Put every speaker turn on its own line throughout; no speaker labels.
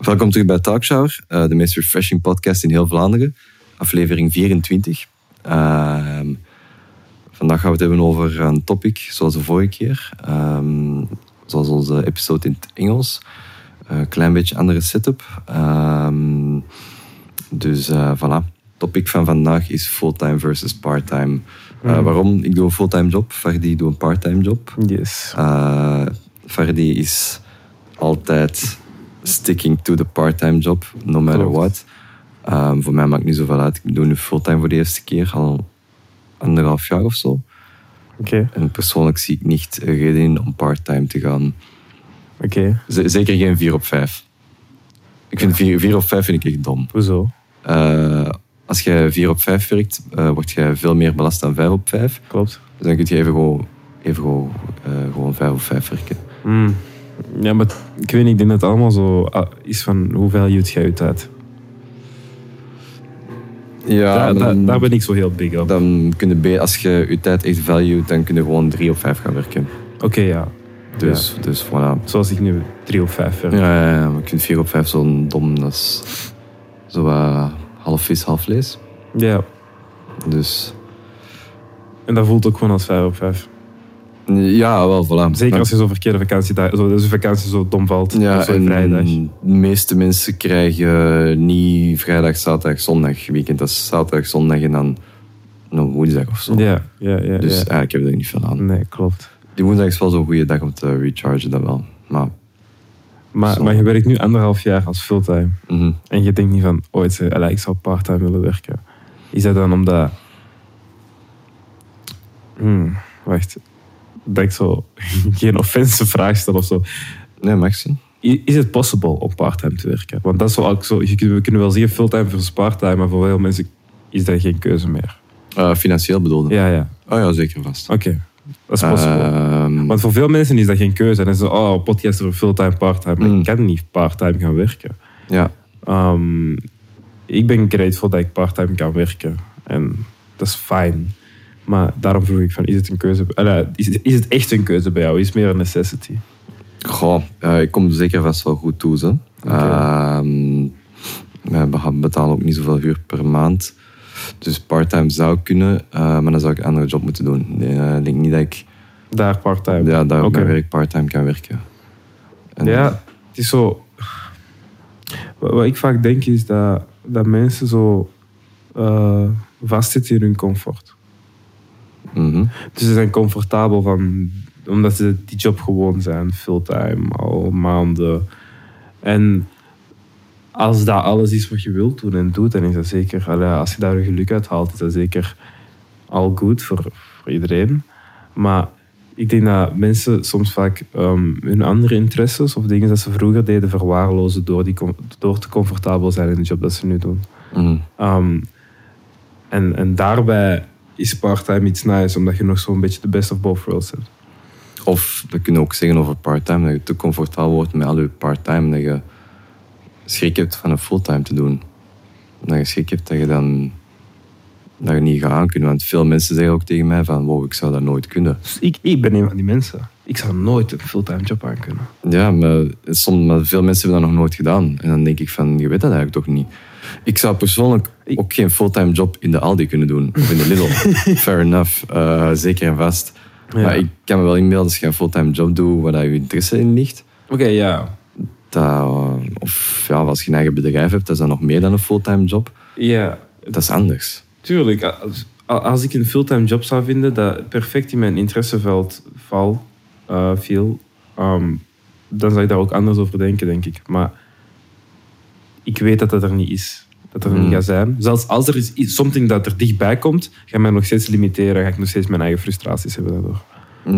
Welkom terug bij Talkshower, eh, de meest refreshing podcast in heel Vlaanderen. Aflevering 24. Ehm, vandaag gaan we het hebben over een topic, zoals de vorige keer. Ehm, zoals onze episode in het Engels. Een klein beetje andere setup. Ehm, dus eh voilà. Topic van vandaag is fulltime versus parttime. Eh, Waarom? Ik doe een fulltime job, Fardi doet een parttime job.
Yes.
Eh, Ferdi is altijd sticking to the part-time job, no matter
Klopt.
what. Ehm, voor mij maakt niet zoveel uit. Ik doe nu fulltime voor de eerste keer, al anderhalf jaar of zo.
Oké, oké.
En persoonlijk zie ik niet een reden in om part-time te gaan. Z- zeker geen 4 op 5. Ik vind 4, op 5 vind ik echt dom.
Hoezo?
Eh, als jij 4 op 5 werkt, eh, word jij veel meer belast dan 5 op 5.
Klopt.
Dus dan kun je even gewoon, even gewoon, eh, gewoon 5 op 5 werken.
Mm. Ja, maar ik weet niet, ik denk dat het allemaal zo ah, is van hoe valued jij je tijd. Ja,
maar dan-
daar ben ik zo heel big op.
dan kunnen be- als je je tijd echt valued, dan kun je gewoon drie of vijf gaan werken.
Oké, ja.
Dus, dus voilà.
Ja. Zoals ik nu drie of vijf
Ja,
werk.
ja, ja, maar ik vind vier op vijf zo'n dom, dat is zo eh, half vis, half vlees.
Ja.
Dus
En dat voelt ook gewoon als vijf op vijf.
ja, wel, voilà.
Zeker
Maar-
als je zo'n verkeerde vakantie, zo, als je vakantie zo dom valt.
ja,
of zo'n
en
vrijdag.
De meeste mensen krijgen niet vrijdag, zaterdag, zondag weekend. Dat is zaterdag, zondag en dan een woensdag of zo.
Ja, ja, ja. Mm.
Dus
ja.
eigenlijk heb je er niet veel aan.
Nee, klopt.
Die woensdag is wel zo'n goede dag om te rechargen, dat wel. Maar,
Maar,
Zo.
maar je werkt nu anderhalf jaar als fulltime.
mhm.
En je denkt niet van, ooit, eh, allee, ik zou part-time willen werken. Is dat dan omdat... Hmm, wacht. Dat ik zo geen offensieve vraag stel of zo.
nee, mag zien.
I- Is het possible om part-time te werken? Want dat is wel ook zo... Je, kunt- we kunnen wel zeggen fulltime versus part-time, maar voor veel mensen is dat geen keuze meer.
Eh, financieel bedoelde.
Ja, ja.
Oh ja, zeker vast.
Oké. Dat is possible.
Ehm,
Want voor veel mensen is dat geen keuze. En dan is het, oh, podcast voor fulltime, part-time. Maar
Mm.
ik kan niet part-time gaan werken.
ja,
Ehm, ik ben grateful dat ik parttime kan werken. En dat is fijn. Maar daarom vroeg ik van, is het een keuze? Allee, is, het- is het echt een keuze bij jou? Is het meer een necessity?
goh, eh, ik kom zeker vast wel goed toe. Zo. Ehm, we beha- betalen ook niet zoveel huur per maand. Dus parttime zou kunnen, eh, maar dan zou ik een andere job moeten doen. Nee, eh, Ik denk niet dat ik
Daar parttime.
ja, daar op
Oké.
mijn werk parttime kan werken. En-
Ja, het is zo... Wat wat ik vaak denk is dat, dat mensen zo eh vastzitten in hun comfort.
mhm.
Dus ze zijn comfortabel van, omdat ze die job gewoon zijn, fulltime, al maanden. En als dat alles is wat je wilt doen en doet, dan is dat zeker, allee, als je daar je geluk uit haalt, is dat zeker al goed voor, voor iedereen. Maar ik denk dat mensen soms vaak ehm, hun andere interesses of dingen dat ze vroeger deden verwaarlozen door, die, com- door te comfortabel zijn in de job dat ze nu doen.
Mhm.
Ehm, en, en daarbij is part-time iets nice, omdat je nog zo'n beetje de best of both worlds hebt.
Of we kunnen ook zeggen over parttime dat je te comfortabel wordt met al je parttime, dat je schrik hebt van een fulltime te doen. Dat je schrik hebt dat je dan dat je niet gaat aankunnen. Want veel mensen zeggen ook tegen mij van wow, ik zou dat nooit kunnen.
Dus ik, ik ben een van die mensen. Ik zou nooit een fulltime job aan kunnen.
Ja, maar, soms, maar veel mensen hebben dat nog nooit gedaan. En dan denk ik van, je weet dat eigenlijk toch niet. Ik zou persoonlijk
Ik-
ook geen fulltime job in de Aldi kunnen doen. Of in de Lidl. Fair enough. eh, zeker en vast.
Ja.
Maar ik kan me wel inbeelden als je een fulltime job doet waar dat je interesse in ligt.
Oké, ja.
Dat, eh, of ja, als je een eigen bedrijf hebt, dat is dat nog meer dan een fulltime job.
Ja,
Dat is anders.
tuurlijk. Als, als ik een fulltime job zou vinden dat perfect in mijn interesseveld val, eh, viel, ehm, dan zou ik daar ook anders over denken, denk ik. Maar ik weet dat dat er niet is. Dat er
Hmm.
niet gaat zijn. Zelfs als er is iets, something dat er dichtbij komt, ga ik mij nog steeds limiteren. Ga ik nog steeds mijn eigen frustraties hebben daardoor.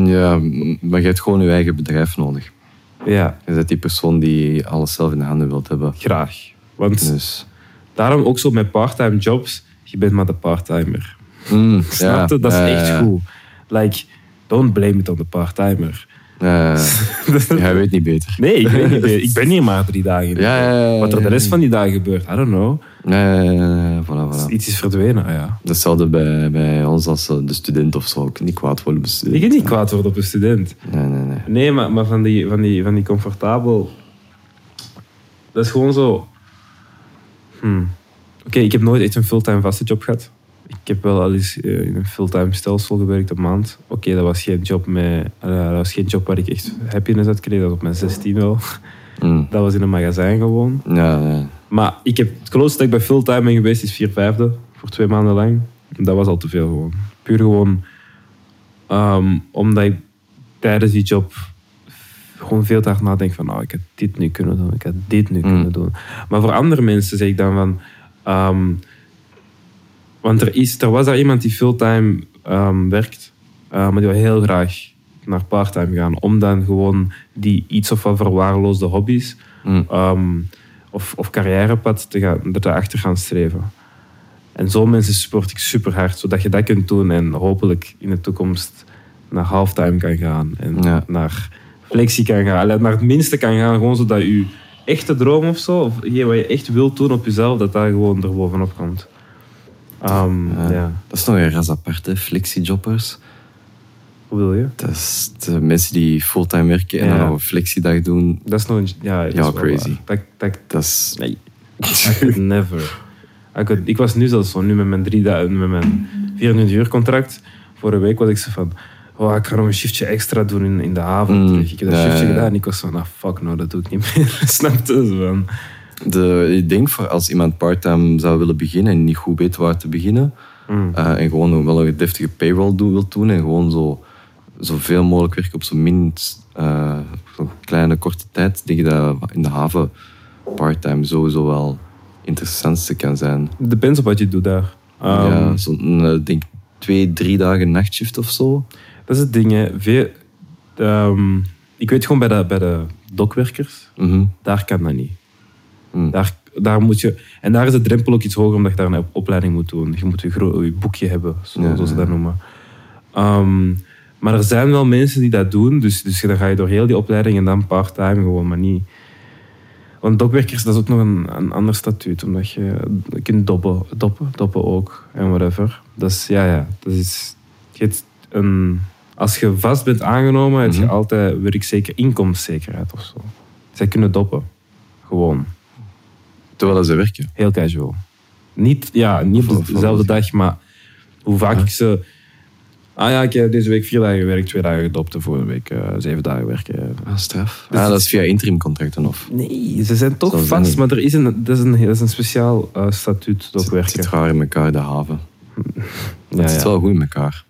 Ja, maar je hebt gewoon je eigen bedrijf nodig.
Ja,
Je bent die persoon die alles zelf in de handen wilt hebben.
graag. Want
Dus,
daarom ook zo met part-time jobs, je bent maar de parttimer.
mm, ja,
Snap je? Dat is
ja,
echt
ja,
goed. Like, don't blame it on the parttimer.
ja, ja. Ja, hij weet niet beter.
nee, ik weet niet. Ik ben hier maar drie dagen. in de
Ja,
week.
ja, ja,
Wat er de
ja,
rest
ja.
van die dagen gebeurt, I don't know.
Ja, ja, ja, ja, voilà, voilà.
Iets is verdwenen, ah ja.
Datzelfde bij, bij ons als eh, de student of zo. Ik niet kwaad worden op de
Ik
student.
kan niet kwaad worden op een student.
Nee, nee, nee.
Nee, maar, maar van, die, van, die, van die comfortabel Dat is gewoon zo. Hmm. Oké, ik heb nooit echt een fulltime vaste job gehad. Ik heb wel al eens eh, in een fulltime stelsel gewerkt een maand. Oké, dat was geen job met, eh, dat was geen job waar ik echt happiness uit kreeg. Dat was op mijn 16 wel.
Mm.
Dat was in een magazijn gewoon.
Ja, ja.
Maar ik heb, het closest dat ik bij fulltime ben geweest is 4 vijfde. Voor twee maanden lang. Dat was al te veel gewoon. Puur gewoon ehm, omdat ik tijdens die job gewoon veel te hard nadenk van nou, ik had dit nu kunnen doen, ik had dit nu
Mm.
kunnen doen. Maar voor andere mensen zeg ik dan van... ehm, want er, is, er was daar iemand die fulltime ehm, werkt, eh, maar die wil heel graag naar parttime gaan. Om dan gewoon die iets of wat verwaarloosde hobby's
Mm.
ehm, of, of carrièrepad te gaan, er achter gaan streven. En zo'n mensen support ik super hard, zodat je dat kunt doen en hopelijk in de toekomst naar halftime kan gaan en
Ja.
naar flexie kan gaan. Allee, naar het minste kan gaan, gewoon zodat je echte droom of zo, of je- wat je echt wilt doen op jezelf, dat dat gewoon er bovenop komt. Ehm,
Ja.
ja.
Dat is nog een ras apart, hè. Flexiejobbers.
Hoe wil je?
Dat is de mensen die fulltime werken en
Ja.
dan nog een flexiedag doen.
Dat is nog een... Ja, dat is
Ja,
wel
crazy.
waar. Dat, dat,
Dat is...
Nee. I could never. I could- ik was nu zelfs zo, nu met mijn, drie dagen, met mijn 24 uur contract. Vorige week was ik zo van, oh, ik ga nog een shiftje extra doen in, in de avond.
Mm,
ik heb dat
ja,
shiftje
ja, ja.
gedaan en ik was van, ah fuck no, dat doe ik niet meer. Snap je? Zo van,
De, ik denk voor als iemand parttime zou willen beginnen en niet goed weet waar te beginnen,
mm,
eh, en gewoon wel een deftige payroll doen, wil doen en gewoon zo, zoveel mogelijk werken op zo'n min eh, zo'n kleine korte tijd, denk ik dat in de haven parttime sowieso wel interessantste kan zijn.
Depends op wat je doet daar. Um,
ja, zo'n, eh, denk twee, drie dagen nachtshift of zo.
Dat is het ding, hè. Veel, ehm, ik weet gewoon bij de, bij de dokwerkers,
Mhm.
daar kan dat niet.
Mm.
Daar, daar moet je, en daar is de drempel ook iets hoger omdat je daar een opleiding moet doen. Je moet je, gro- je boekje hebben, zo-
Ja,
zoals ze dat
ja.
noemen. Ehm, maar er zijn wel mensen die dat doen, dus, dus dan ga je door heel die opleiding en dan part-time gewoon, maar niet. Want dokwerkers, dat is ook nog een, een ander statuut, omdat je kunt doppen, doppen, doppen ook en whatever. Dat is, ja, ja, dat is. Je hebt een, als je vast bent aangenomen, heb je
Mhm.
altijd werkzeker inkomenszekerheid of zo. Zij kunnen doppen. Gewoon.
Terwijl ze werken.
Heel casual. Niet, ja, niet
Voor-
op
voor-
dezelfde dag, maar hoe vaak
Ja.
ik ze... Ah ja, ik heb deze week vier dagen gewerkt, twee dagen gedopt en vorige week eh, zeven dagen werken.
Ah, straf.
Dus
ah,
het-
dat is via interimcontracten of?
Nee, ze zijn toch
Zo zijn
vast,
die.
maar er is een, dat, is een, dat is een speciaal eh, statuut
Het
dat
zit- het
werken.
zit raar in elkaar, de haven.
Ja,
het zit
ja.
wel goed in elkaar.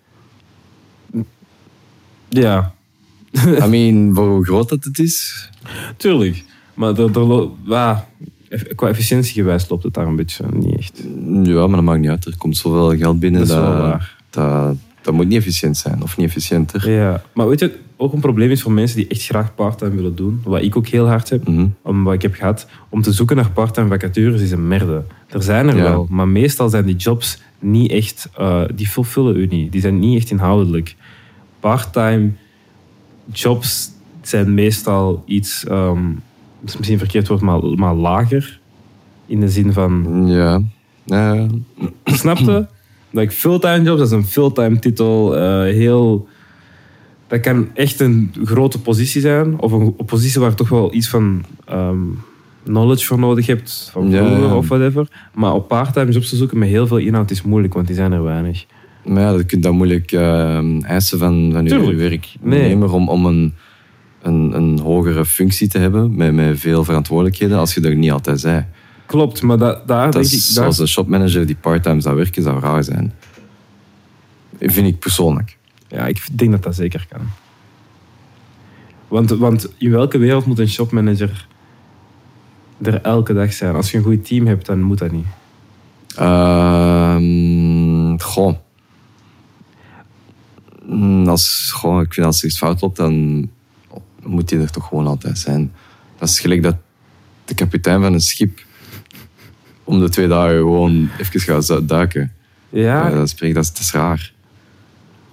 ja,
I mean, voor hoe groot dat het is.
tuurlijk. Maar er, er lo- ja, eff- qua efficiëntie gewijs loopt het daar een beetje niet echt.
Ja, maar dat maakt niet uit. Er komt zoveel geld binnen.
Dat is wel
dat-
waar.
Dat, dat moet niet efficiënt zijn, of niet efficiënter.
Ja, maar weet je, wat ook een probleem is voor mensen die echt graag part-time willen doen, wat ik ook heel hard heb,
Mhm.
om wat ik heb gehad, om te zoeken naar part-time vacatures is een merde. Er zijn er
Ja.
wel, maar meestal zijn die jobs niet echt, eh, die vervullen u niet. Die zijn niet echt inhoudelijk. Part-time jobs zijn meestal iets, ehm, dat is misschien verkeerd woord, maar, maar lager. In de zin van,
Ja. Eh,
snapte? Like fulltime jobs, dat is een fulltime titel, eh, heel... Dat kan echt een grote positie zijn, of een positie waar je toch wel iets van ehm, knowledge voor nodig hebt, van
Ja,
vroeger
ja.
of whatever. Maar op part-time jobs te zoeken met heel veel inhoud is moeilijk, want die zijn er weinig.
maar ja, dat kunt dan moeilijk eh, eisen van, van uw
Tuurlijk.
werknemer om, om een, een, een hogere functie te hebben met, met veel verantwoordelijkheden als je er niet altijd zij.
Klopt, maar da- daar
Dat
denk
is
ik... Daar,
zoals een shopmanager die part-time zou werken, zou raar zijn. Vind ik persoonlijk.
Ja, ik denk dat dat zeker kan. Want, want in welke wereld moet een shopmanager er elke dag zijn? Als je een goed team hebt, dan moet dat niet.
Ehm goh. Mm, Als, goh. Ik vind als er iets fout loopt, dan moet die er toch gewoon altijd zijn. Dat is gelijk dat de kapitein van een schip om de twee dagen gewoon even gaat zu- duiken.
Ja,
Eh, dat, spreekt, dat, is, dat is raar.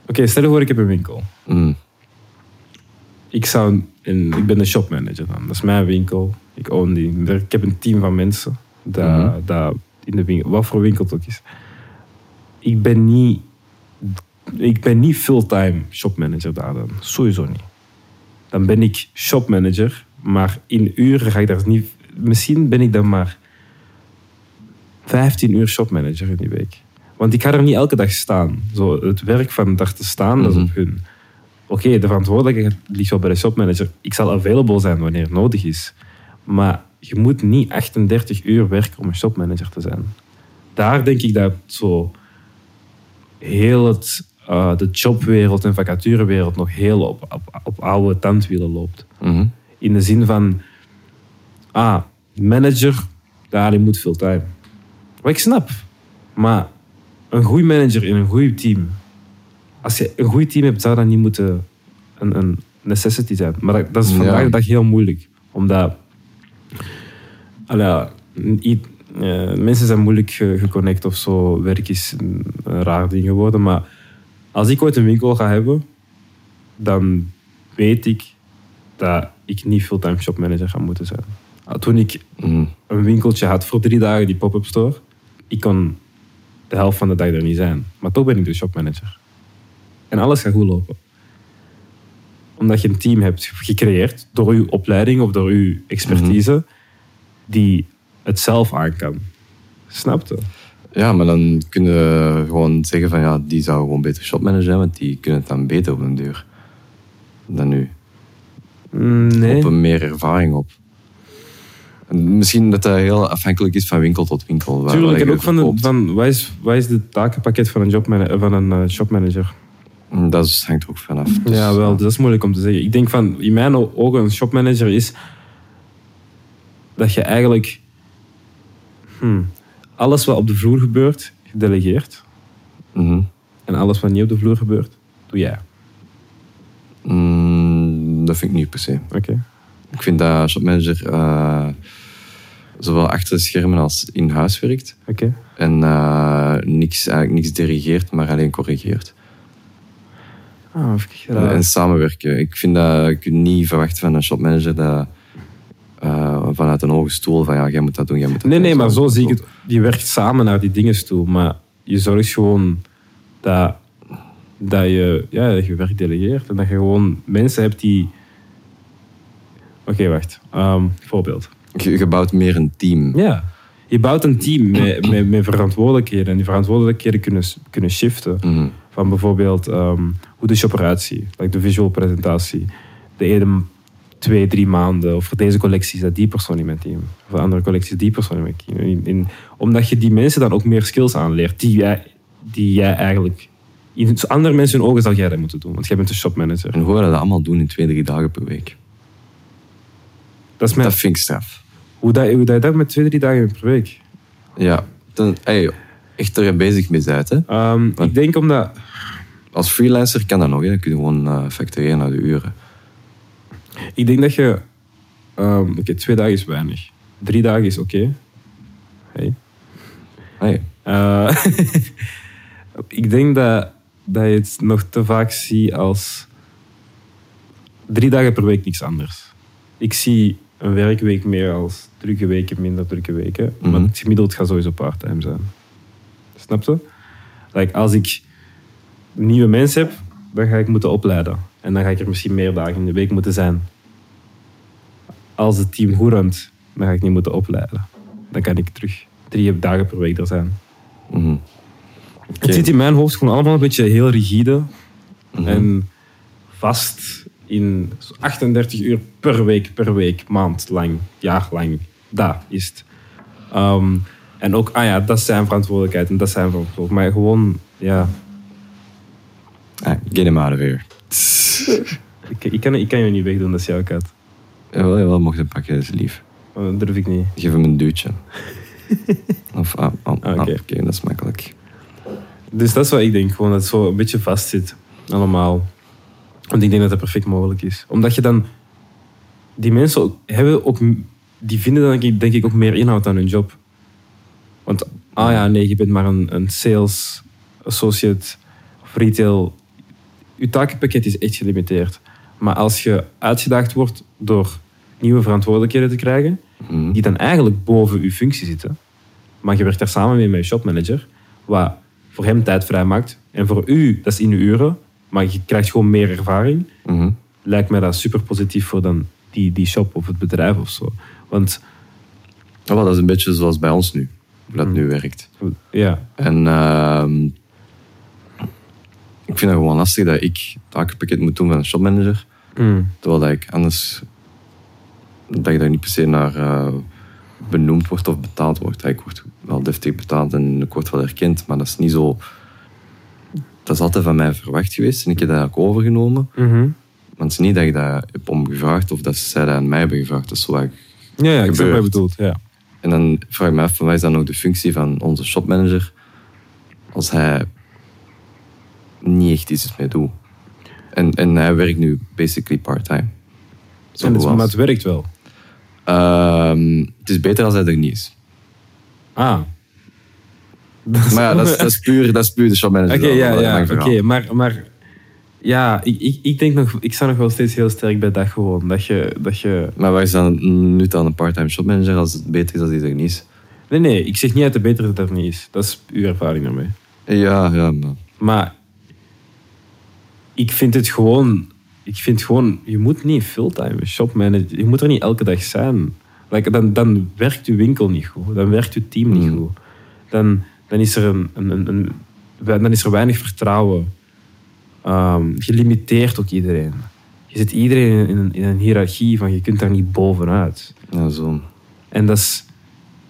Oké, stel je voor, ik heb een winkel.
Mm,
Ik, zou een, ik ben de shopmanager dan. Dat is mijn winkel. Ik own die. Er- Ik heb een team van mensen. Dat,
Mhm.
dat in de winkel, wat voor winkel het ook is. Ik ben niet, ik ben niet fulltime shopmanager daar dan. Sowieso niet. Dan ben ik shopmanager, maar in uren ga ik daar niet misschien ben ik dan maar 15 uur shopmanager in die week. Want ik ga er niet elke dag staan. Zo, het werk van daar te staan, dat is op
Mhm.
hun. Oké, de verantwoordelijkheid ligt wel bij de shopmanager. Ik zal available zijn wanneer het nodig is. Maar je moet niet 38 uur werken om een shopmanager te zijn. Daar denk ik dat zo heel het, eh, de jobwereld en vacaturewereld nog heel op, op, op oude tandwielen loopt.
Mhm.
In de zin van, ah, manager, daar die moet veel time. Wat ik snap. Maar een goede manager in een goed team. Als je een goed team hebt, zou dat niet moeten een, een necessity zijn. Maar dat, dat is
Ja.
vandaag de dag heel moeilijk. Omdat allee, ja, i- eh, mensen zijn moeilijk ge- geconnect of zo. Werk is een, een raar ding geworden. Maar als ik ooit een winkel ga hebben, dan weet ik dat ik niet fulltime shopmanager ga moeten zijn. Ah, Toen ik
Mhm.
een winkeltje had voor drie dagen, die pop-up store. Ik kon de helft van de dag er niet zijn. Maar toch ben ik de shopmanager. En alles gaat goed lopen. Omdat je een team hebt gecreëerd door uw opleiding of door uw expertise, die het zelf aan kan. Snapte?
Ja, maar dan kunnen we gewoon zeggen van ja, die zou gewoon beter shopmanager zijn, want die kunnen het dan beter op een duur dan nu.
Nee.
Op een meer ervaring op. En misschien dat dat heel afhankelijk is van winkel tot winkel. waar-
Tuurlijk,
waar
en
je
ook van, de,
verkoopt.
van wat, is, wat is het takenpakket van een, jobmana- eh, van een eh, shopmanager?
Mm, Dat is- hangt er ook vanaf. Dus-
Ja, wel, dat is moeilijk om te zeggen. Ik denk van, in mijn o- ogen, een shopmanager is dat je eigenlijk hmm, alles wat op de vloer gebeurt, gedelegeerd.
Mhm.
En alles wat niet op de vloer gebeurt, doe jij.
Mm, dat vind ik niet per se.
Oké.
Ik vind dat shopmanager eh, zowel achter de schermen als in huis werkt.
Oké.
En eh, niks, eigenlijk niks dirigeert, maar alleen corrigeert.
Ah, even kijken.
En, en samenwerken. Ik vind dat je kunt niet verwacht van een shopmanager dat eh, vanuit een hoge stoel van ja, jij moet dat doen, jij moet dat
Nee,
doen.
nee, maar zo zie ik het. Je werkt samen naar die dingen toe, maar je zorgt gewoon dat, dat je ja, dat je werk delegeert en dat je gewoon mensen hebt die. Oké, wacht. Ehm, voorbeeld.
Je, je bouwt meer een team.
Ja. Je bouwt een team met, met, met verantwoordelijkheden en die verantwoordelijkheden kunnen, s- kunnen shiften
Mhm.
van bijvoorbeeld ehm, hoe de operatie, like de visual presentatie, de ene twee, drie maanden, of voor deze collectie is dat die persoon in mijn team, of voor andere collecties die persoon in mijn team. In, in- omdat je die mensen dan ook meer skills aanleert, die jij, die jij eigenlijk, in andere mensen hun ogen zal jij dat moeten doen, want jij bent de shopmanager.
En hoe we dat allemaal doen in twee, drie dagen per week.
Dat is mijn,
Dat vind ik straf.
hoe, dat, hoe dat je dat met twee, drie dagen per week.
Ja. Dan, hey, echt er bezig mee zijn. Hè.
Ehm, ik denk omdat,
Als freelancer kan dat nog. Hè. Dan kun je gewoon eh, factureren naar de uren.
ik denk dat je, ehm, oké, twee dagen is weinig, drie dagen is oké. Hey.
Hey.
Eh, ik denk dat, dat je het nog te vaak ziet als drie dagen per week niks anders. Ik zie een werkweek meer als drukke weken, minder drukke weken. Maar
Mhm.
het gemiddeld gaat sowieso part-time zijn. Snap je? Like, als ik nieuwe mensen heb, dan ga ik moeten opleiden. En dan ga ik er misschien meer dagen in de week moeten zijn. Als het team goed runt, dan ga ik niet moeten opleiden. Dan kan ik terug drie dagen per week er zijn.
Mhm. Oké.
Het zit in mijn hoofd gewoon allemaal een beetje heel rigide
Mhm.
en vast in zo'n 38 uur per week, per week, maand lang, jaar lang. Dat is het. Ehm, en ook, ah ja, dat is zijn verantwoordelijkheid en dat is zijn verantwoordelijkheid. Maar gewoon, ja,
Ah, get him out of here.
ik, ik, kan, ik kan je niet wegdoen, dat is jouw kat.
Jawel, jawel, mocht je hem pakken, dat is lief.
Maar Dat durf ik niet.
Geef hem een duwtje. of, ah, ah, ah,
Oké.
oké, dat is makkelijk.
Dus dat is wat ik denk, gewoon dat het zo een beetje vast zit, allemaal. Want ik denk dat dat perfect mogelijk is. Omdat je dan... Die mensen ook- hebben ook... m- Die vinden dan denk ik, denk ik ook meer inhoud aan hun job. Want, ah ja, nee, je bent maar een, een sales associate of retail. Je takenpakket is echt gelimiteerd. Maar als je uitgedaagd wordt door nieuwe verantwoordelijkheden te krijgen,
Mhm.
die dan eigenlijk boven uw functie zitten. Maar je werkt daar samen mee met je shopmanager, wat voor hem tijd vrijmaakt. En voor u, dat is in uw uren, maar je krijgt gewoon meer ervaring.
Mhm.
Lijkt mij dat super positief voor dan die, die shop of het bedrijf of zo. Want
Ah, wel, dat is een beetje zoals bij ons nu, hoe dat nu werkt.
Ja.
En ehm, ik vind het gewoon lastig dat ik het takenpakket moet doen van een shopmanager.
Hmm.
Terwijl dat ik anders dat ik daar niet per se naar eh, benoemd wordt of betaald wordt. Ik word wel deftig betaald en ik word wel erkend, maar dat is niet zo. Dat is altijd van mij verwacht geweest en ik heb dat ook overgenomen.
Mhm.
Want het is niet dat ik dat heb omgevraagd of dat zij dat aan mij hebben gevraagd. Dat is zo eigenlijk
Ja, ja, ik snap wat je
Gebeurt.
bedoelt. Ja.
en dan vraag ik me af, van wat is dan nog de functie van onze shopmanager als hij niet echt iets mee doet? En, en hij werkt nu basically part-time. Zo
En het,
goed
maar
als.
het werkt wel.
Ehm, het is beter als hij er niet is.
Ah.
Maar ja, dat is, dat is, puur, dat is puur de shopmanager.
Oké,
dan,
ja,
dat is een
ja.
lang
Oké,
verhaal.
maar, maar ja, ik, ik, ik denk nog, ik sta nog wel steeds heel sterk bij dat gewoon. Dat je, dat je,
Maar waar is dan nu dan een part-time shopmanager als het beter is als hij er niet is?
nee, nee, ik zeg niet uit de betere dat het er niet is. Dat is uw ervaring daarmee.
Ja, ja, maar...
Maar ik vind het gewoon, ik vind gewoon, je moet niet fulltime shopmanager, je moet er niet elke dag zijn. Like, dan, dan werkt je winkel niet goed, dan werkt je team niet
Mm.
goed. Dan, dan, is er een, een, een, een- we- dan is er weinig vertrouwen. Ehm, je limiteert ook iedereen. Je zit iedereen in, in, een- in een hiërarchie van je kunt daar niet bovenuit.
Ja, zo.
En dat is,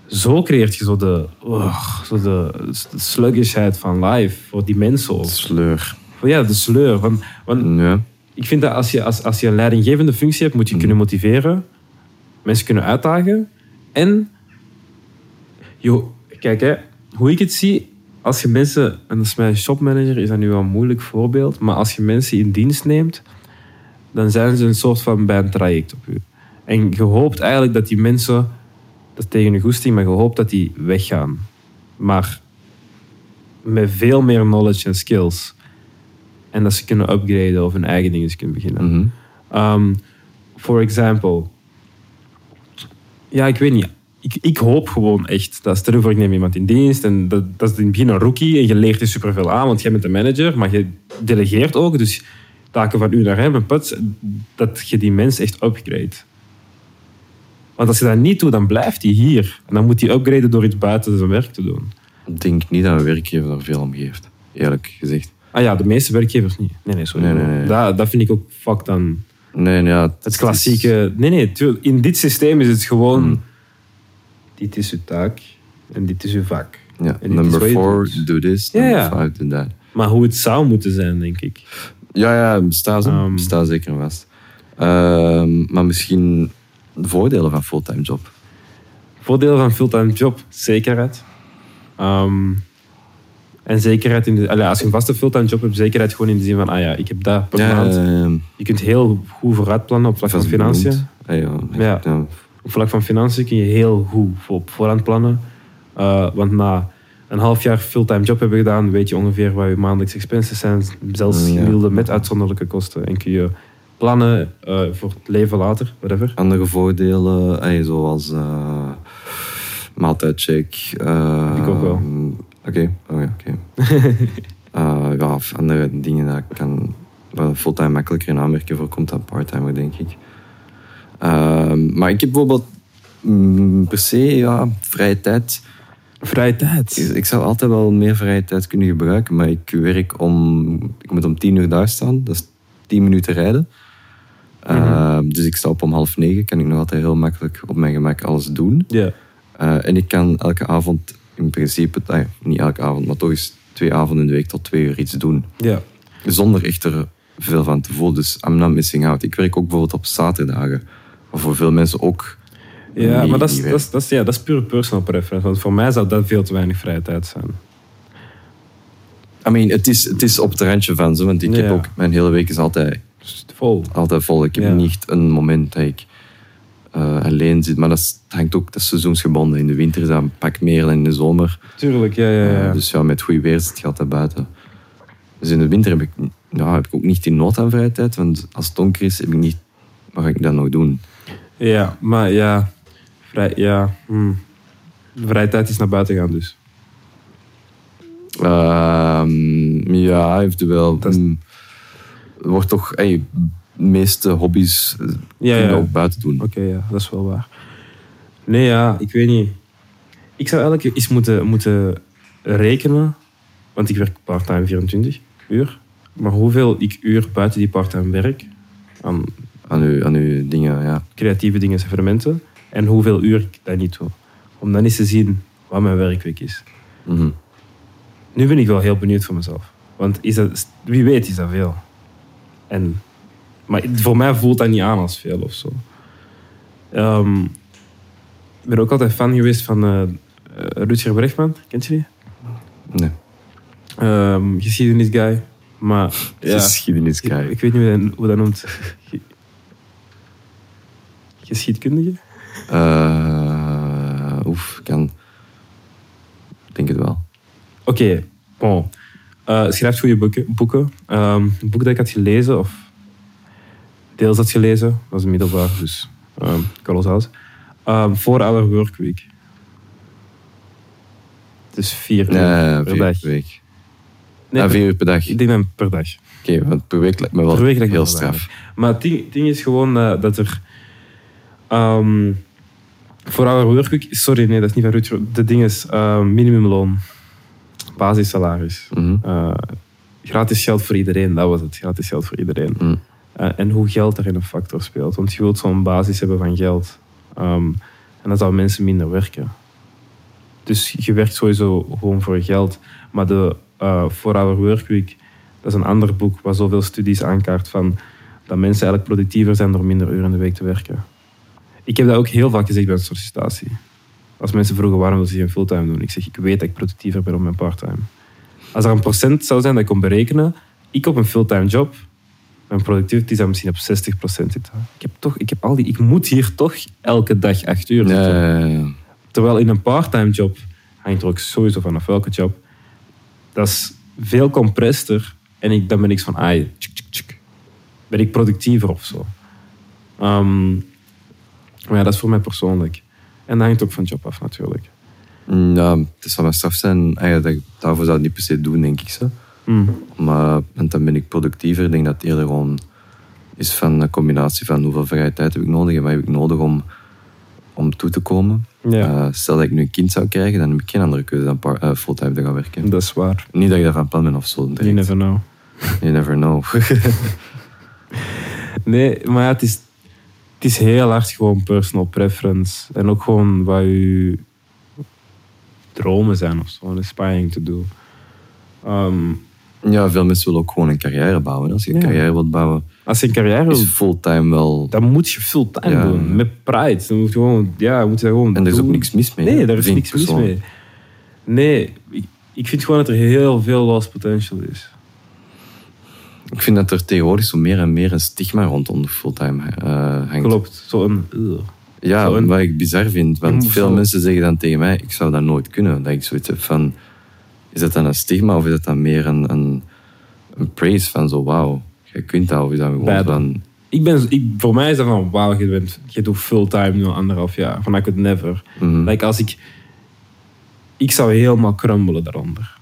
zo creëert je zo de, oh, zo de, de sluggisheid van life voor die mensen ook.
Sleur.
Van Oh Ja, de sleur. Want, want
Ja.
ik vind dat als je, als, als je een leidinggevende functie hebt, moet je kunnen motiveren, mensen kunnen uitdagen. En, joh, kijk hè, hoe ik het zie, als je mensen, en dat is mijn shopmanager, is dat nu wel een moeilijk voorbeeld, maar als je mensen in dienst neemt, dan zijn ze een soort van bij een traject op u. En je hoopt eigenlijk dat die mensen, dat is tegen je goesting, maar je hoopt dat die weggaan. Maar met veel meer knowledge en skills. En dat ze kunnen upgraden of hun eigen dingen kunnen beginnen.
Mhm.
Um, for example. Ja, ik weet niet. Ik, ik hoop gewoon echt dat stel je voor ik neem iemand in dienst en dat, dat is in het begin een rookie en je leert er superveel aan, want jij bent de manager, maar je delegeert ook, dus taken van u naar hem en puts, dat je die mens echt upgrade. Want als je dat niet doet, dan blijft hij hier. En dan moet hij upgraden door iets buiten zijn werk te doen.
Ik denk niet dat een werkgever daar veel om geeft. Eerlijk gezegd.
Ah ja, de meeste werkgevers niet. Nee, nee, sorry.
Nee, nee, nee.
Dat, dat vind ik ook fuck dan.
Nee, nee, ja, het
Het
is-
klassieke. Nee, nee, tuurlijk. In dit systeem is het gewoon. Dit is uw taak en dit is uw vak.
Ja,
En dit is
number
wat je
four,
doet.
do this.
Ja,
number
ja.
five, do that.
Maar hoe het zou moeten zijn, denk ik.
Ja, ja, bestaat ze.
Ehm.
Bestaat zeker en vast. Ehm, maar misschien de voordelen van fulltime job.
Voordeel van fulltime job: zekerheid. Ehm, en zekerheid in de. allee, als je een vaste fulltime job hebt, zekerheid gewoon in de zin van: ah ja, ik heb dat per maand.
ehm,
Je kunt heel goed vooruit plannen op vlak van
vast
financiën.
benoemd. Ah, ja,
Ja.
ja.
Op vlak van financiën kun je heel goed voor, op voorhand plannen. Eh, want na een half jaar fulltime job hebben gedaan, weet je ongeveer waar je maandelijkse expenses zijn. Zelfs
Mm, Ja.
gemiddelde met uitzonderlijke kosten. En kun je plannen eh, voor het leven later, whatever.
Andere voordelen, eh, zoals eh maaltijdcheck. eh,
Ik ook wel.
ehm, Oké, oh ja, oké. Eh, ja, of andere dingen dat ik kan, waar fulltime makkelijker in aanmerking voor komt dan parttimer, denk ik. Ehm, maar ik heb bijvoorbeeld mm, per se ja, vrije tijd.
Vrije
Ik,
tijd.
ik zou altijd wel meer vrije tijd kunnen gebruiken, maar ik werk om... Ik moet om tien uur daar staan, dat is tien minuten rijden.
Mhm.
Eh, dus ik sta op om half negen, kan ik nog altijd heel makkelijk op mijn gemak alles doen.
Ja.
Eh, en ik kan elke avond in principe, eh, niet elke avond, maar toch eens twee avonden in de week tot twee uur iets doen.
Ja.
Zonder echt er veel van te voelen, dus I'm not missing out. Ik werk ook bijvoorbeeld op zaterdagen, wat voor veel mensen ook
Ja,
niet-
maar dat is,
niet
dat, is, dat, is, ja, dat is pure personal preference. Want voor mij zou dat veel te weinig vrije tijd zijn.
I mean, het is, het is op het randje van zo, want ik heb
Ja.
ook mijn hele week is altijd,
Dus vol.
altijd vol. Ik heb
Ja.
niet een moment dat ik eh, alleen zit, maar dat is- het hangt ook, dat is seizoensgebonden. In de winter is dat een pak meer dan in de zomer.
Tuurlijk, ja, ja, ja.
Eh, dus ja, met goed weer zit je altijd buiten. Dus in de winter heb ik, ja, heb ik ook niet die nood aan vrije tijd, want als het donker is, heb ik niet, wat ga ik dan nog doen?
Ja, maar ja. Vrij, ja. hm. Vrije tijd is naar buiten gaan dus.
Ehm, ja, eventueel.
Dat is-
mm, er wordt toch, hey, de meeste hobby's eh,
Ja,
kun je
ja.
ook buiten doen.
Oké, ja, dat is wel waar. Nee, ja, ik weet niet. Ik zou eigenlijk eens moeten, moeten rekenen, want ik werk part-time 24 uur. Maar hoeveel ik uur buiten die part-time werk aan
Aan uw, aan uw dingen, ja.
creatieve dingen en evenementen en hoeveel uur ik dat niet doe. Om dan eens te zien wat mijn werkweek is.
Mhm.
Nu ben ik wel heel benieuwd voor mezelf. Want is dat, wie weet is dat veel. En, maar voor mij voelt dat niet aan als veel of zo. Ehm, ik ben ook altijd fan geweest van eh eh, Rutger Bregman. Kent je die?
Nee.
Ehm, geschiedenisguy. Maar ja, ik,
Geschiedeniskijk.
ik weet niet hoe dat, hoe dat noemt. Ge- Geschiedkundige?
Eh, oef, ik kan... Ik denk het wel.
Oké, bon. Eh, schrijft goede boeken. boeken. Ehm, het boek dat ik had gelezen, of deels had gelezen, was in middelbaar, dus ehm kolossaal. Ehm Four Hour Work Week. Dus vier uur
Nee,
per
Eh, vier
dag.
uur per week.
Nee,
ah,
per-
vier uur per dag.
ik
Oké,
denk dan per dag.
want per week lijkt me wel
Per week lijkt me
heel
wel
straf.
Maar het ding, het ding is gewoon eh, dat er... ehm voor Hour Work Week... Sorry, nee, dat is niet van Rutger. De ding is ehm, minimumloon. Basissalaris.
Mhm.
Eh, gratis geld voor iedereen, dat was het. Gratis geld voor iedereen.
Mm.
Eh, en hoe geld daarin een factor speelt. Want je wilt zo'n basis hebben van geld. Ehm, en dan zouden mensen minder werken. Dus je werkt sowieso gewoon voor geld. Maar de eh For Our Workweek, dat is een ander boek waar zoveel studies aankaart van dat mensen eigenlijk productiever zijn door minder uren in de week te werken. Ik heb dat ook heel vaak gezegd bij een sollicitatie. Als mensen vroegen waarom wil je geen fulltime doen, ik zeg ik weet dat ik productiever ben op mijn parttime. Als er een procent zou zijn dat ik kon berekenen, ik op een fulltime job, mijn productiviteit zou misschien op 60% zitten. Ik heb toch, ik heb al die, ik moet hier toch elke dag acht uur
Eh,
zitten.
Nee,
Terwijl in een part-time job, hangt er ook sowieso vanaf welke job, dat is veel comprester en ik, dan ben ik zo van, ai, tsk, tsk, tsk. ben ik productiever of zo. Ehm, maar ja, dat is voor mij persoonlijk. En dat hangt ook van job af natuurlijk.
Ja, het zou wel straf zijn. Ah ja, dat, daarvoor zou ik het niet per se doen, denk ik. Zo.
Mm.
Maar want dan ben ik productiever. Ik denk dat het eerder gewoon is van een combinatie van hoeveel vrije tijd heb ik nodig en wat heb ik nodig om, om toe te komen.
Ja,
Eh, stel dat ik nu een kind zou krijgen, dan heb ik geen andere keuze dan par- eh, fulltime te gaan werken.
dat is waar.
Niet dat ik daarvan plan ben of zo. direct.
You never know.
You never know.
Nee, maar ja, het is, het is heel hard gewoon personal preference. En ook gewoon wat je dromen zijn of zo, een aspiring te doen.
ja, veel mensen willen ook gewoon een carrière bouwen. Als je een
Ja.
carrière wilt bouwen,
als je een carrière
is
wil,
fulltime wel...
dan moet je fulltime
Ja.
doen. Met pride. Dan moet je gewoon, ja, moet je dat gewoon
En er is ook
doen.
niks mis mee.
Nee, daar is
vind ik
niks mis
persoonlijk.
mee. Nee, ik, ik vind gewoon dat er heel veel lost potential is.
Ik vind dat er tegenwoordig zo meer en meer een stigma rondom fulltime eh hangt.
Klopt. Zo'n... ugh.
Ja,
Zo een-
wat ik bizar vind. Want
moet
veel
zo-
mensen zeggen dan tegen mij, ik zou dat nooit kunnen. Dat ik zoiets heb van, is dat dan een stigma of is dat dan meer een, een, een praise van zo, wauw, jij kunt dat. Of is dat gewoon
Beide.
van,
Ik ben, ik, voor mij is dat van, wauw, je, bent, je doet fulltime nu al anderhalf jaar. Van, I could never.
mhm,
Like, als ik... Ik zou helemaal crumbelen daaronder.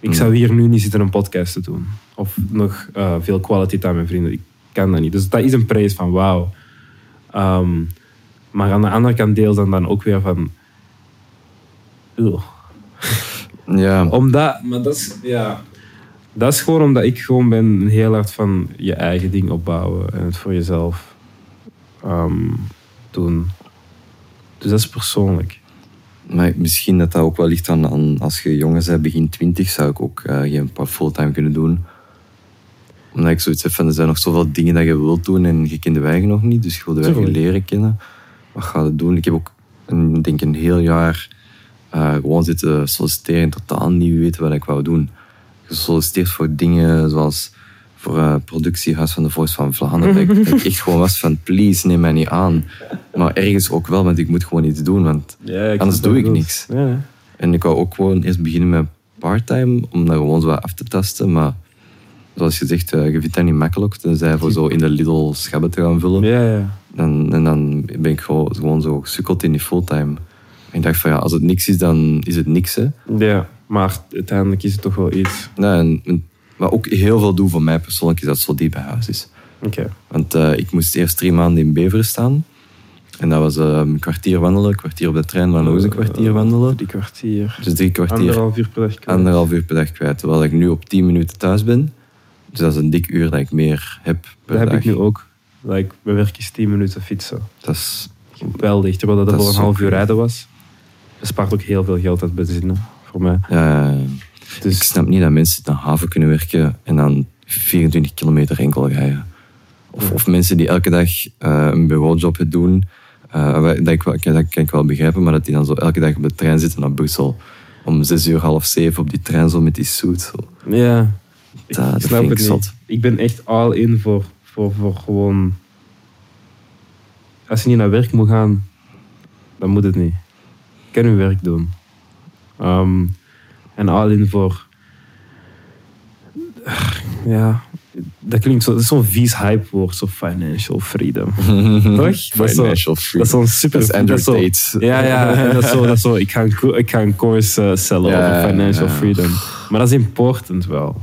Ik zou hier nu niet zitten een podcast te doen. Of nog eh, veel kwaliteit aan mijn vrienden. Ik kan dat niet. Dus dat is een prijs van wauw. Ehm, maar aan de andere kant deels dan, dan ook weer van... Ugh.
ja,
Omdat... Maar dat is... Ja. Dat is gewoon omdat ik gewoon ben heel hard van je eigen ding opbouwen. En het voor jezelf ehm, doen. Dus dat is persoonlijk.
maar misschien dat dat ook wel ligt aan, aan als je jonger bent, begin twintig, zou ik ook eh, geen paar fulltime kunnen doen. Omdat ik zoiets heb van, er zijn nog zoveel dingen dat je wilt doen en je kent de eigen nog niet. Dus je wil de eigen
Tuurlijk.
leren kennen. Wat ga je doen? Ik heb ook, een, denk een heel jaar eh, gewoon zitten solliciteren en totaal niet weten wat ik wou doen. Gesolliciteerd voor dingen zoals voor eh, productiehuis van de Voice van Vlaanderen. dat, ik, dat ik echt gewoon was van, please, neem mij niet aan. Maar ergens ook wel, want ik moet gewoon iets doen. Want
Ja, ik
Anders
snap
doe
wat
ik
je
niks.
bedoelt. Ja.
en ik wou ook gewoon eerst beginnen met part-time, om dat gewoon zo wat af te testen. Maar zoals gezegd, eh, je vindt dat niet makkelijk. Tenzij voor zo in de Lidl schabben te gaan vullen.
Ja, ja.
Dan, en dan ben ik gewoon, gewoon zo gesukkeld in die fulltime. En ik dacht van ja, als het niks is, dan is het niks. Hè.
ja, maar uiteindelijk is het toch wel iets.
Nou, en, en- wat ook heel veel doet voor mij persoonlijk, is dat het zo diep bij huis is.
Oké.
Want eh, ik moest eerst drie maanden in Beveren staan. En dat was eh, een kwartier wandelen, een kwartier op de trein, dan nog eens een kwartier wandelen.
Drie kwartier.
Dus drie kwartier,
Anderhalf uur per dag. kwijt.
anderhalf uur per dag kwijt. Terwijl ik nu op tien minuten thuis ben. Dus dat is een dik uur dat ik meer heb per
Dat heb
dag.
ik nu ook. Like, mijn werk is 10 minuten fietsen.
Dat is
Geweldig. Terwijl dat,
Dat
al
is
een
zo
half uur
crazy.
rijden was. Bespaart ook heel veel geld uit bezinnen voor mij.
Ja,
Dus-
eh, ik snap niet dat mensen naar haven kunnen werken en dan 24 kilometer enkel rijden. Of, of mensen die elke dag eh, een bureaujob doen, eh, wa- dat, ik, wel- dat kan ik wel begrijpen, maar dat die dan zo elke dag op de trein zitten naar Brussel. Om zes uur, half zeven op die trein zo met die suit. Zo.
Ja. Ik
Dat- dat
snap
vind ik
het niet.
zot.
Ik ben echt all in voor, voor, voor gewoon... Als je niet naar werk moet gaan, dan moet het niet. Ik kan uw werk doen. Ehm, en all in voor... Ja, dat klinkt zo... Dat is zo'n vies hype woord, zo financial freedom. Toch? Dat is zo-
Financial
Dat
freedom.
is zo'n super...
Dat is Andrew
zo-
Tate.
ja, ja, en dat is zo, dat is zo ik, ga een, co- ik ga een course eh, cellen
Ja,
over financial
ja.
freedom. Maar dat is important wel.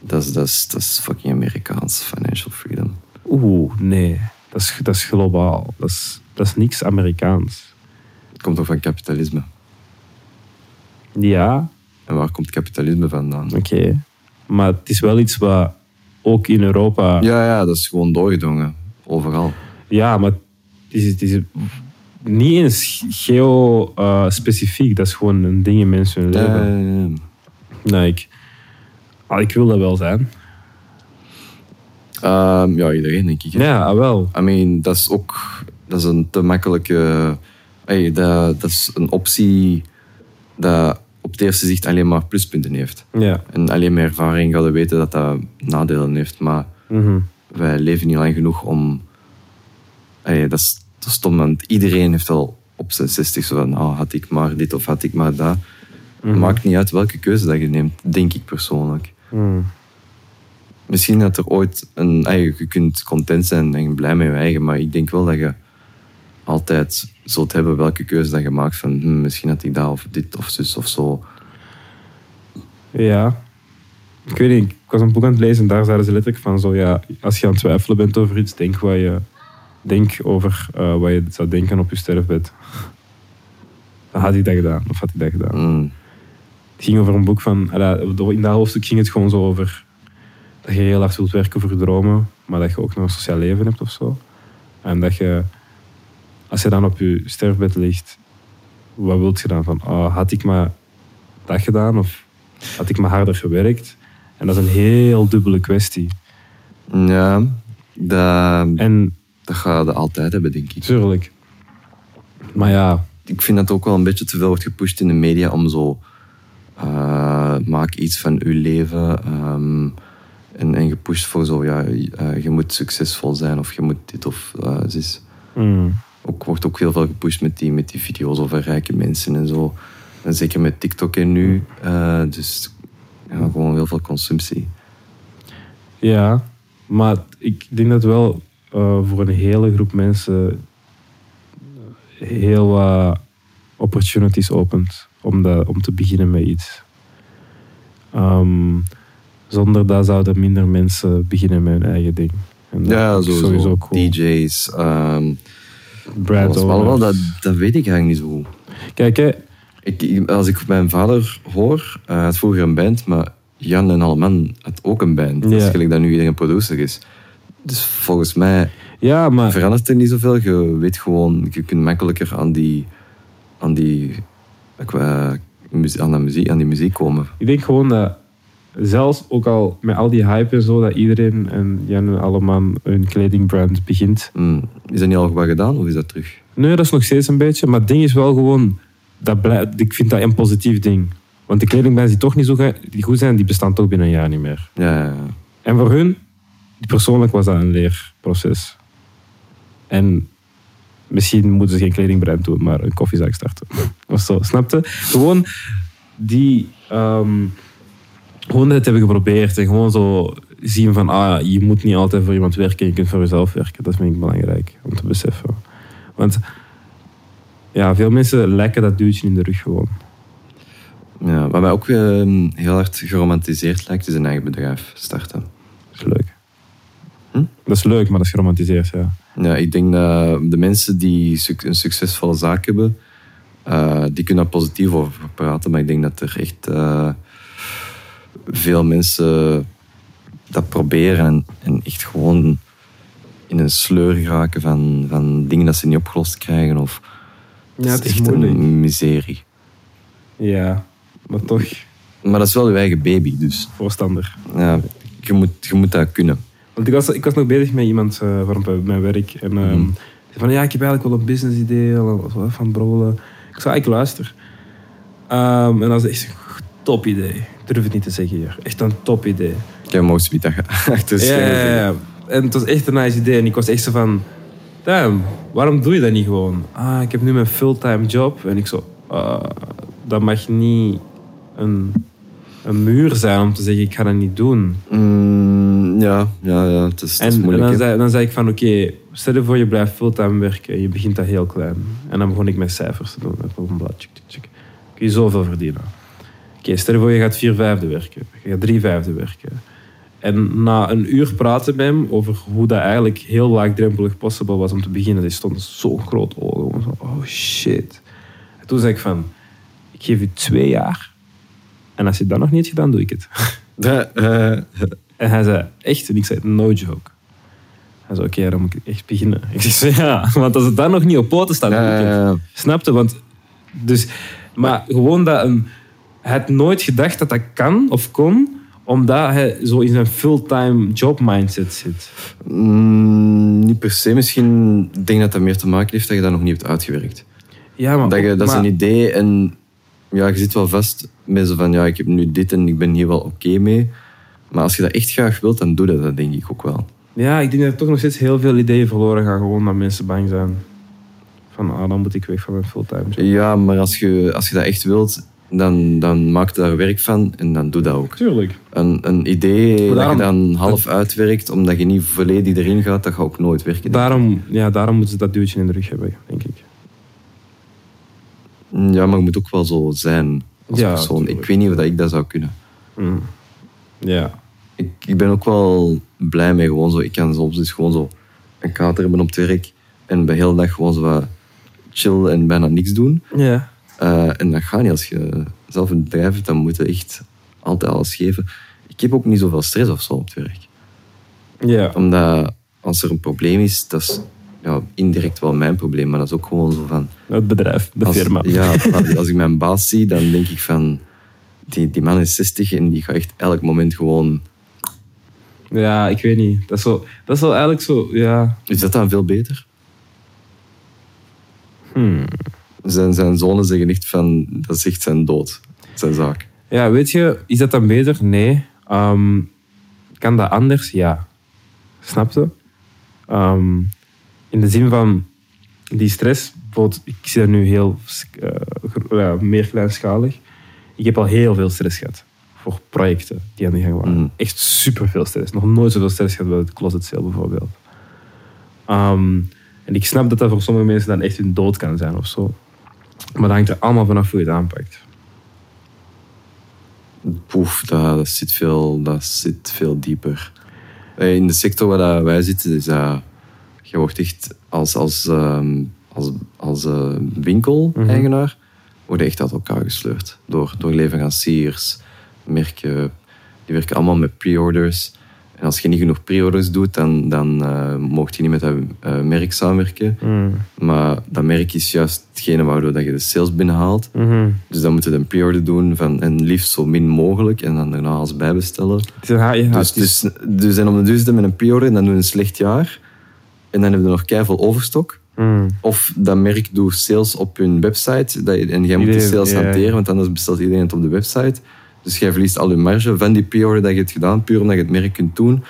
Dat is, dat, is, dat is fucking Amerikaans, financial freedom.
Oeh, nee. Dat is, dat is globaal. Dat is, dat is niks Amerikaans.
Het komt ook van kapitalisme.
Ja,
En waar komt kapitalisme vandaan?
oké. Maar het is wel iets wat ook in Europa...
Ja, ja, dat is gewoon doorgedrongen. Overal.
Ja, maar het is, het is niet eens geo-specifiek. dat is gewoon een ding in mensen hun leven.
Eh,
Nee, ik, ah, ik wil dat wel zijn.
ehm, ja, iedereen denk ik. hè.
Ja, ah, wel.
I mean, dat is ook dat is een te makkelijke... Hey, dat, dat is een optie dat op het eerste zicht alleen maar pluspunten heeft.
Ja.
En alleen met ervaring gaan we weten dat dat nadelen heeft. Maar
Mhm.
wij leven niet lang genoeg om... Hey, dat, is, dat is stom, want iedereen heeft al op zijn 60 zo van... Oh, had ik maar dit of had ik maar dat.
Mhm.
Maakt niet uit welke keuze dat je neemt, denk ik persoonlijk.
Mhm.
Misschien dat er ooit een. ah, Je je kunt content zijn en blij met je eigen, maar ik denk wel dat je altijd zult hebben welke keuze dat je maakt. Van hmm, misschien had ik dat of dit of zus of zo.
Ja. Ik weet niet, ik was een boek aan het lezen en daar zeiden ze letterlijk van zo, ja, als je aan het twijfelen bent over iets, denk, wat je, denk over eh, wat je zou denken op je sterfbed. Dan had ik dat gedaan, of had ik dat gedaan.
Hmm,
Het ging over een boek van, eh, ala, in dat hoofdstuk ging het gewoon zo over dat je heel hard wilt werken voor je dromen, maar dat je ook nog een sociaal leven hebt of zo. En dat je, als je dan op je sterfbed ligt, wat wilt je dan van, oh, had ik maar dat gedaan of had ik maar harder gewerkt? En dat is een heel dubbele kwestie.
Ja, dat,
En
dat ga je altijd hebben, denk ik.
tuurlijk, maar ja,
Ik vind dat ook wel een beetje te veel wordt gepusht in de media om zo. eh, maak iets van uw leven. ehm, en, en gepusht voor zo, ja, eh, je moet succesvol zijn of je moet dit of eh zus. Hmm.
mm,
ook, wordt ook heel veel gepusht met die, met die video's over rijke mensen en zo. En zeker met TikTok en nu. eh, dus ja, gewoon heel veel consumptie.
ja, maar ik denk dat wel eh, voor een hele groep mensen heel wat opportunities opent om, dat, om te beginnen met iets. Ehm, zonder dat zouden minder mensen beginnen met hun eigen ding. En dat
Ja,
is
sowieso.
cool.
DJ's. ehm
Brand
alles.
owners.
Alhoewel, dat, dat weet ik eigenlijk niet zo goed.
Kijk, hè,
Ik, ik- als ik mijn vader hoor, eh, hij had vroeger een band, maar Jan en Alleman had ook een band.
Ja.
Dat is gelijk dat nu iedereen producer is. Dus volgens mij
ja, maar
verandert er niet zoveel. Je weet gewoon, je kunt makkelijker aan die, aan die, qua muzie- aan, dat muziek, aan die muziek komen.
Ik denk gewoon dat, zelfs ook al met al die hype en zo, dat iedereen en Jan en Alleman hun kledingbrand begint.
Mm. Is dat niet al wat gedaan of is dat terug?
Nee, dat is nog steeds een beetje, maar het ding is wel gewoon, dat blij- ik vind dat een positief ding. Want de kledingbrands die toch niet zo ga- die goed zijn, die bestaan toch binnen een jaar niet meer.
Ja, ja, ja.
En voor hun, persoonlijk was dat een leerproces. En misschien moeten ze geen kledingbrand doen, maar een koffiezaak starten. Of zo, snapte? Gewoon die... ehm, gewoon het hebben geprobeerd en gewoon zo zien van... Ah, je moet niet altijd voor iemand werken, je kunt voor jezelf werken. Dat vind ik belangrijk om te beseffen. Want ja, veel mensen lekken dat duwtje in de rug gewoon.
ja. Wat mij ook ehm, heel hard geromantiseerd lijkt, is een eigen bedrijf starten.
Dat is leuk.
Hm?
Dat is leuk, maar dat is geromantiseerd, ja.
Ja, ik denk dat de mensen die suc- een succesvolle zaak hebben, eh, die kunnen daar positief over praten. Maar ik denk dat er echt eh, veel mensen dat proberen en, en echt gewoon in een sleur geraken van, van dingen dat ze niet opgelost krijgen. Of,
Ja, het is
echt
moeilijk.
een miserie.
Ja, maar toch
Maar dat is wel je eigen baby, dus
voorstander.
ja, je, moet, je moet dat kunnen.
Want ik was, ik was nog bezig met iemand eh waarom bij mijn werk. En ehm,
Mhm.
zei van ja, ik heb eigenlijk wel een business idee, al- al van brolen. Ik zei, "Ah, ik luister. Ehm, en dat is echt een top idee. Ik durf het niet te zeggen hier. Echt een top idee.
Ik heb mooi zoiets dat je achter
ja,
schermen
ja,
vindt.
ja. En het was echt een nice idee. En ik was echt zo van... Damn, waarom doe je dat niet gewoon? Ah, ik heb nu mijn fulltime job. En ik zo... ah, dat mag niet een, een muur zijn om te zeggen, ik ga dat niet doen.
Mm, ja, ja, ja, het is, het is
En, en
moeilijk.
dan,
hè.
zei, dan zei ik van, oké, stel je voor je blijft fulltime werken en je begint dat heel klein. En dan begon ik met cijfers te doen. Even Op een blad, tjuk, tjuk, tjuk. Kun je zoveel verdienen. Oké, stel je voor je gaat vier vijfde werken. Je gaat drie vijfde werken. En na een uur praten met hem over hoe dat eigenlijk heel laagdrempelig possible was om te beginnen. Die stond zo groot ogen. Zo, oh shit. En toen zei ik van, ik geef je twee jaar. En als je dat nog niet hebt gedaan, doe ik het.
Ja, eh,
En hij zei, echt? En ik zei, no joke. Hij zei, oké, dan moet ik echt beginnen. Ik zei, ja, want als het daar nog niet op poten staat... dan moet ik het."
eh,
Snapte? Want, dus, maar gewoon dat een... Hij had nooit gedacht dat dat kan of kon, omdat hij zo in zijn fulltime job mindset zit.
mm, niet per se. Misschien ik denk dat dat meer te maken heeft dat je dat nog niet hebt uitgewerkt.
Ja, maar...
Dat, je, dat is
maar-
een idee en ja, je zit wel vast met zo van ja, ik heb nu dit en ik ben hier wel oké mee. Maar als je dat echt graag wilt, dan doe je dat denk ik ook wel.
Ja, ik denk dat er toch nog steeds heel veel ideeën verloren gaan, gewoon dat mensen bang zijn. Van, ah, dan moet ik weg van mijn fulltime job.
Ja, maar als je, als je dat echt wilt, dan, dan maak je daar werk van en dan doe dat ook.
Tuurlijk.
Een, een idee
Maar
dat je
daarom-
dan half uitwerkt, omdat je niet volledig erin gaat, dat gaat ook nooit werken.
Daarom, ja, daarom moeten ze dat duwtje in de rug hebben, denk ik.
Ja, maar je moet ook wel zo zijn als
Ja,
persoon. Ik
tuurlijk.
weet niet of dat ik dat zou kunnen.
Mm. Ja.
Ik, ik ben ook wel blij mee gewoon zo. Ik kan soms dus gewoon zo een kater hebben op het werk en bij heel de dag gewoon zo wat chill en bijna niks doen.
Ja.
Eh, en dat gaat niet. Als je zelf een bedrijf hebt, dan moet je echt altijd alles geven. Ik heb ook niet zoveel stress of zo op het werk.
Ja.
Omdat als er een probleem is, dat is ja, indirect wel mijn probleem, maar dat is ook gewoon zo van...
Het bedrijf, de
als,
firma.
Ja, als- als ik mijn baas zie, dan denk ik van... Die, die man is 60 en die gaat echt elk moment gewoon...
Ja, ik weet niet. Dat is wel, dat is wel eigenlijk zo, ja.
Is dat dan veel beter?
Hmm.
Zijn, zijn zonen zeggen echt van... Dat is echt zijn dood. Zijn zaak.
Ja, weet je, is dat dan beter? Nee. Ehm, kan dat anders? Ja. Snap je? Ehm, in de zin van die stress, bijvoorbeeld, ik zie dat nu heel eh, gro- ja, meer kleinschalig. Ik heb al heel veel stress gehad voor projecten die aan de gang waren.
Mm.
Echt super veel stress. Nog nooit zoveel stress gehad bij het closet sale bijvoorbeeld. Ehm, en ik snap dat dat voor sommige mensen dan echt hun dood kan zijn of zo. Maar dat hangt er allemaal vanaf hoe je het aanpakt.
Poef, dat, dat, zit veel, dat zit veel dieper. Eh, In de sector waar dat wij zitten, is dat... Je wordt echt als, als, ehm, als, als eh, winkel-eigenaar... Word je echt uit elkaar gesleurd. Door, door leveranciers, merken... Die werken allemaal met pre-orders. En als je niet genoeg pre-orders doet, dan, dan eh, mocht je niet met dat eh, merk samenwerken. Maar dat merk is juist hetgene waardoor dat je de sales binnenhaalt. Dus dan moet je een pre-order doen van en liefst zo min mogelijk en dan daarna als bijbestellen.
Het is een ha- ja,
dus,
het is-
dus, dus en om de duurste met een pre-order en dan doen we een slecht jaar. En dan hebben we nog keiveel overstok.
Mm.
Of dat merk doet sales op hun website dat, en jij moet die
Iedereen,
sales
ja.
hanteren, want anders bestelt iedereen het op de website. Dus jij verliest al je marge van die pre-order dat je hebt gedaan, puur omdat je het merk kunt doen.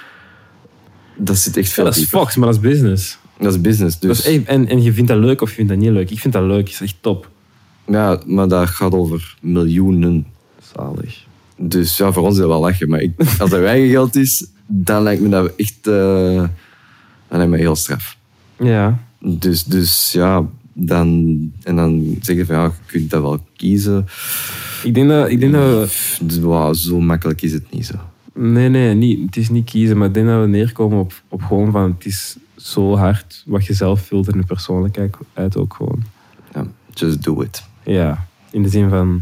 Dat zit echt
Ja,
veel
dat is
dieper.
Fox, maar dat is business.
Dat is business. Dus.
Dat is echt- en, en je vindt dat leuk of je vindt dat niet leuk. Ik vind dat leuk, is echt top.
Ja, maar dat gaat over miljoenen.
Zalig.
Dus ja, voor ons is dat wel lachen. Maar ik, als dat eigen geld is, dan lijkt me dat echt... eh dan lijkt me heel straf.
Ja.
Dus, dus ja, dan... En dan zeg je van, ja, je kunt dat wel kiezen.
Ik denk dat, ik denk dat we-
Pff, dus, wauw, zo makkelijk is het niet zo.
Nee, nee, niet, het is niet kiezen, maar ik denk dat we neerkomen op, op gewoon van het is zo hard wat je zelf wilt en je persoonlijkheid uit ook gewoon.
Ja, just do it.
Ja, in de zin van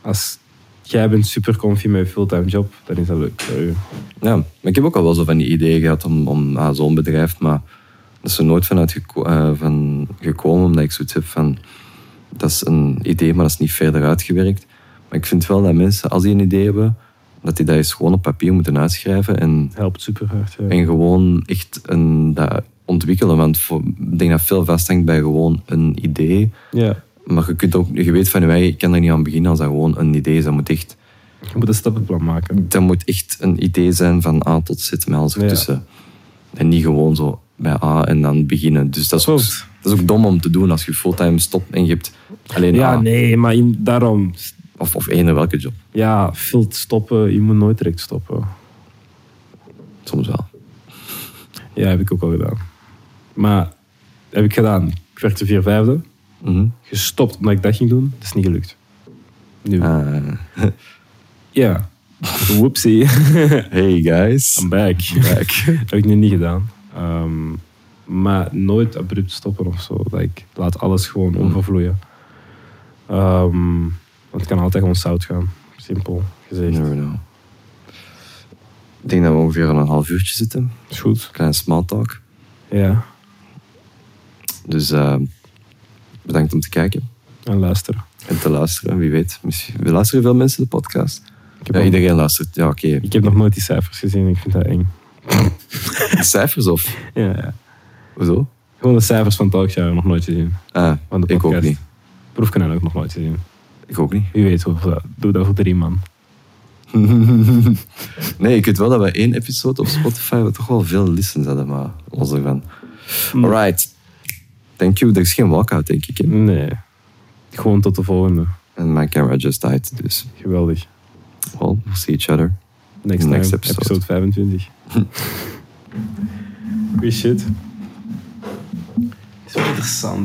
als jij bent super comfy met je fulltime job, dan is dat leuk voor u.
Ja, maar ik heb ook al wel zo van die ideeën gehad om, om ah, zo'n bedrijf, maar dat is er nooit vanuit geko- eh, van gekomen, omdat ik zoiets heb van, dat is een idee, maar dat is niet verder uitgewerkt. Maar ik vind wel dat mensen, als die een idee hebben, dat die dat eens gewoon op papier moeten uitschrijven en,
Helpt super hard. Ja.
en gewoon echt een, dat ontwikkelen. Want voor- ik denk dat veel vasthangt bij gewoon een idee.
ja.
Maar je, kunt ook, je weet van, wij, ik kan er niet aan beginnen als dat gewoon een idee is. Dat moet echt
Je moet een stappenplan maken.
dat moet echt een idee zijn van A tot Z met alles
Ja.
ertussen. En niet gewoon zo bij A en dan beginnen. Dus dat is, ook,
Klopt.
dat is ook dom om te doen als je fulltime stopt en je hebt alleen
Ja,
A.
nee, maar in- daarom,
Of, of eender welke job.
ja, vult stoppen, je moet nooit direct stoppen.
Soms wel.
Ja, heb ik ook al gedaan. Maar heb ik gedaan. Ik werkte vier vijfde.
Mhm.
Gestopt omdat ik dat ging doen. Dat is niet gelukt. Nu.
Ah.
Ja. Whoopsie.
hey guys.
I'm back. dat heb ik nu niet gedaan. Ehm, maar nooit abrupt stoppen of zo. Dat ik laat alles gewoon overvloeien. Ehm, want het kan altijd gewoon zout gaan. Simpel gezegd.
Never know. Ik denk dat we ongeveer aan een half uurtje zitten.
Is goed.
Klein small talk.
Ja.
Dus eh, bedankt om te kijken
En luisteren.
en te luisteren. Wie weet, misschien we luisteren veel mensen de podcast.
Ik heb,
Ja,
nog-
iedereen luistert. Ja, oké.
ik heb nog nooit die cijfers gezien. Ik vind dat eng.
Cijfers of?
Ja, ja.
Hoezo?
Gewoon de cijfers van Talkshow nog nooit gezien.
Ah,
Van de
ik ook
podcast.
niet.
Proefkanaal ook nog nooit gezien.
Ik ook niet.
Wie weet hoeveel dat. Doe dat voor drie man.
Nee, ik weet wel dat we één episode op Spotify we toch wel veel listens hadden, maar los daarvan.
Hmm.
Alright. Thank you. Er is geen walkout, denk ik. hè?
Nee. Gewoon tot de volgende.
En my camera just died, dus.
Geweldig.
Well, we'll see each other.
Next,
Next
time,
episode.
episode. 25. Wie shit. Het is wel interessant.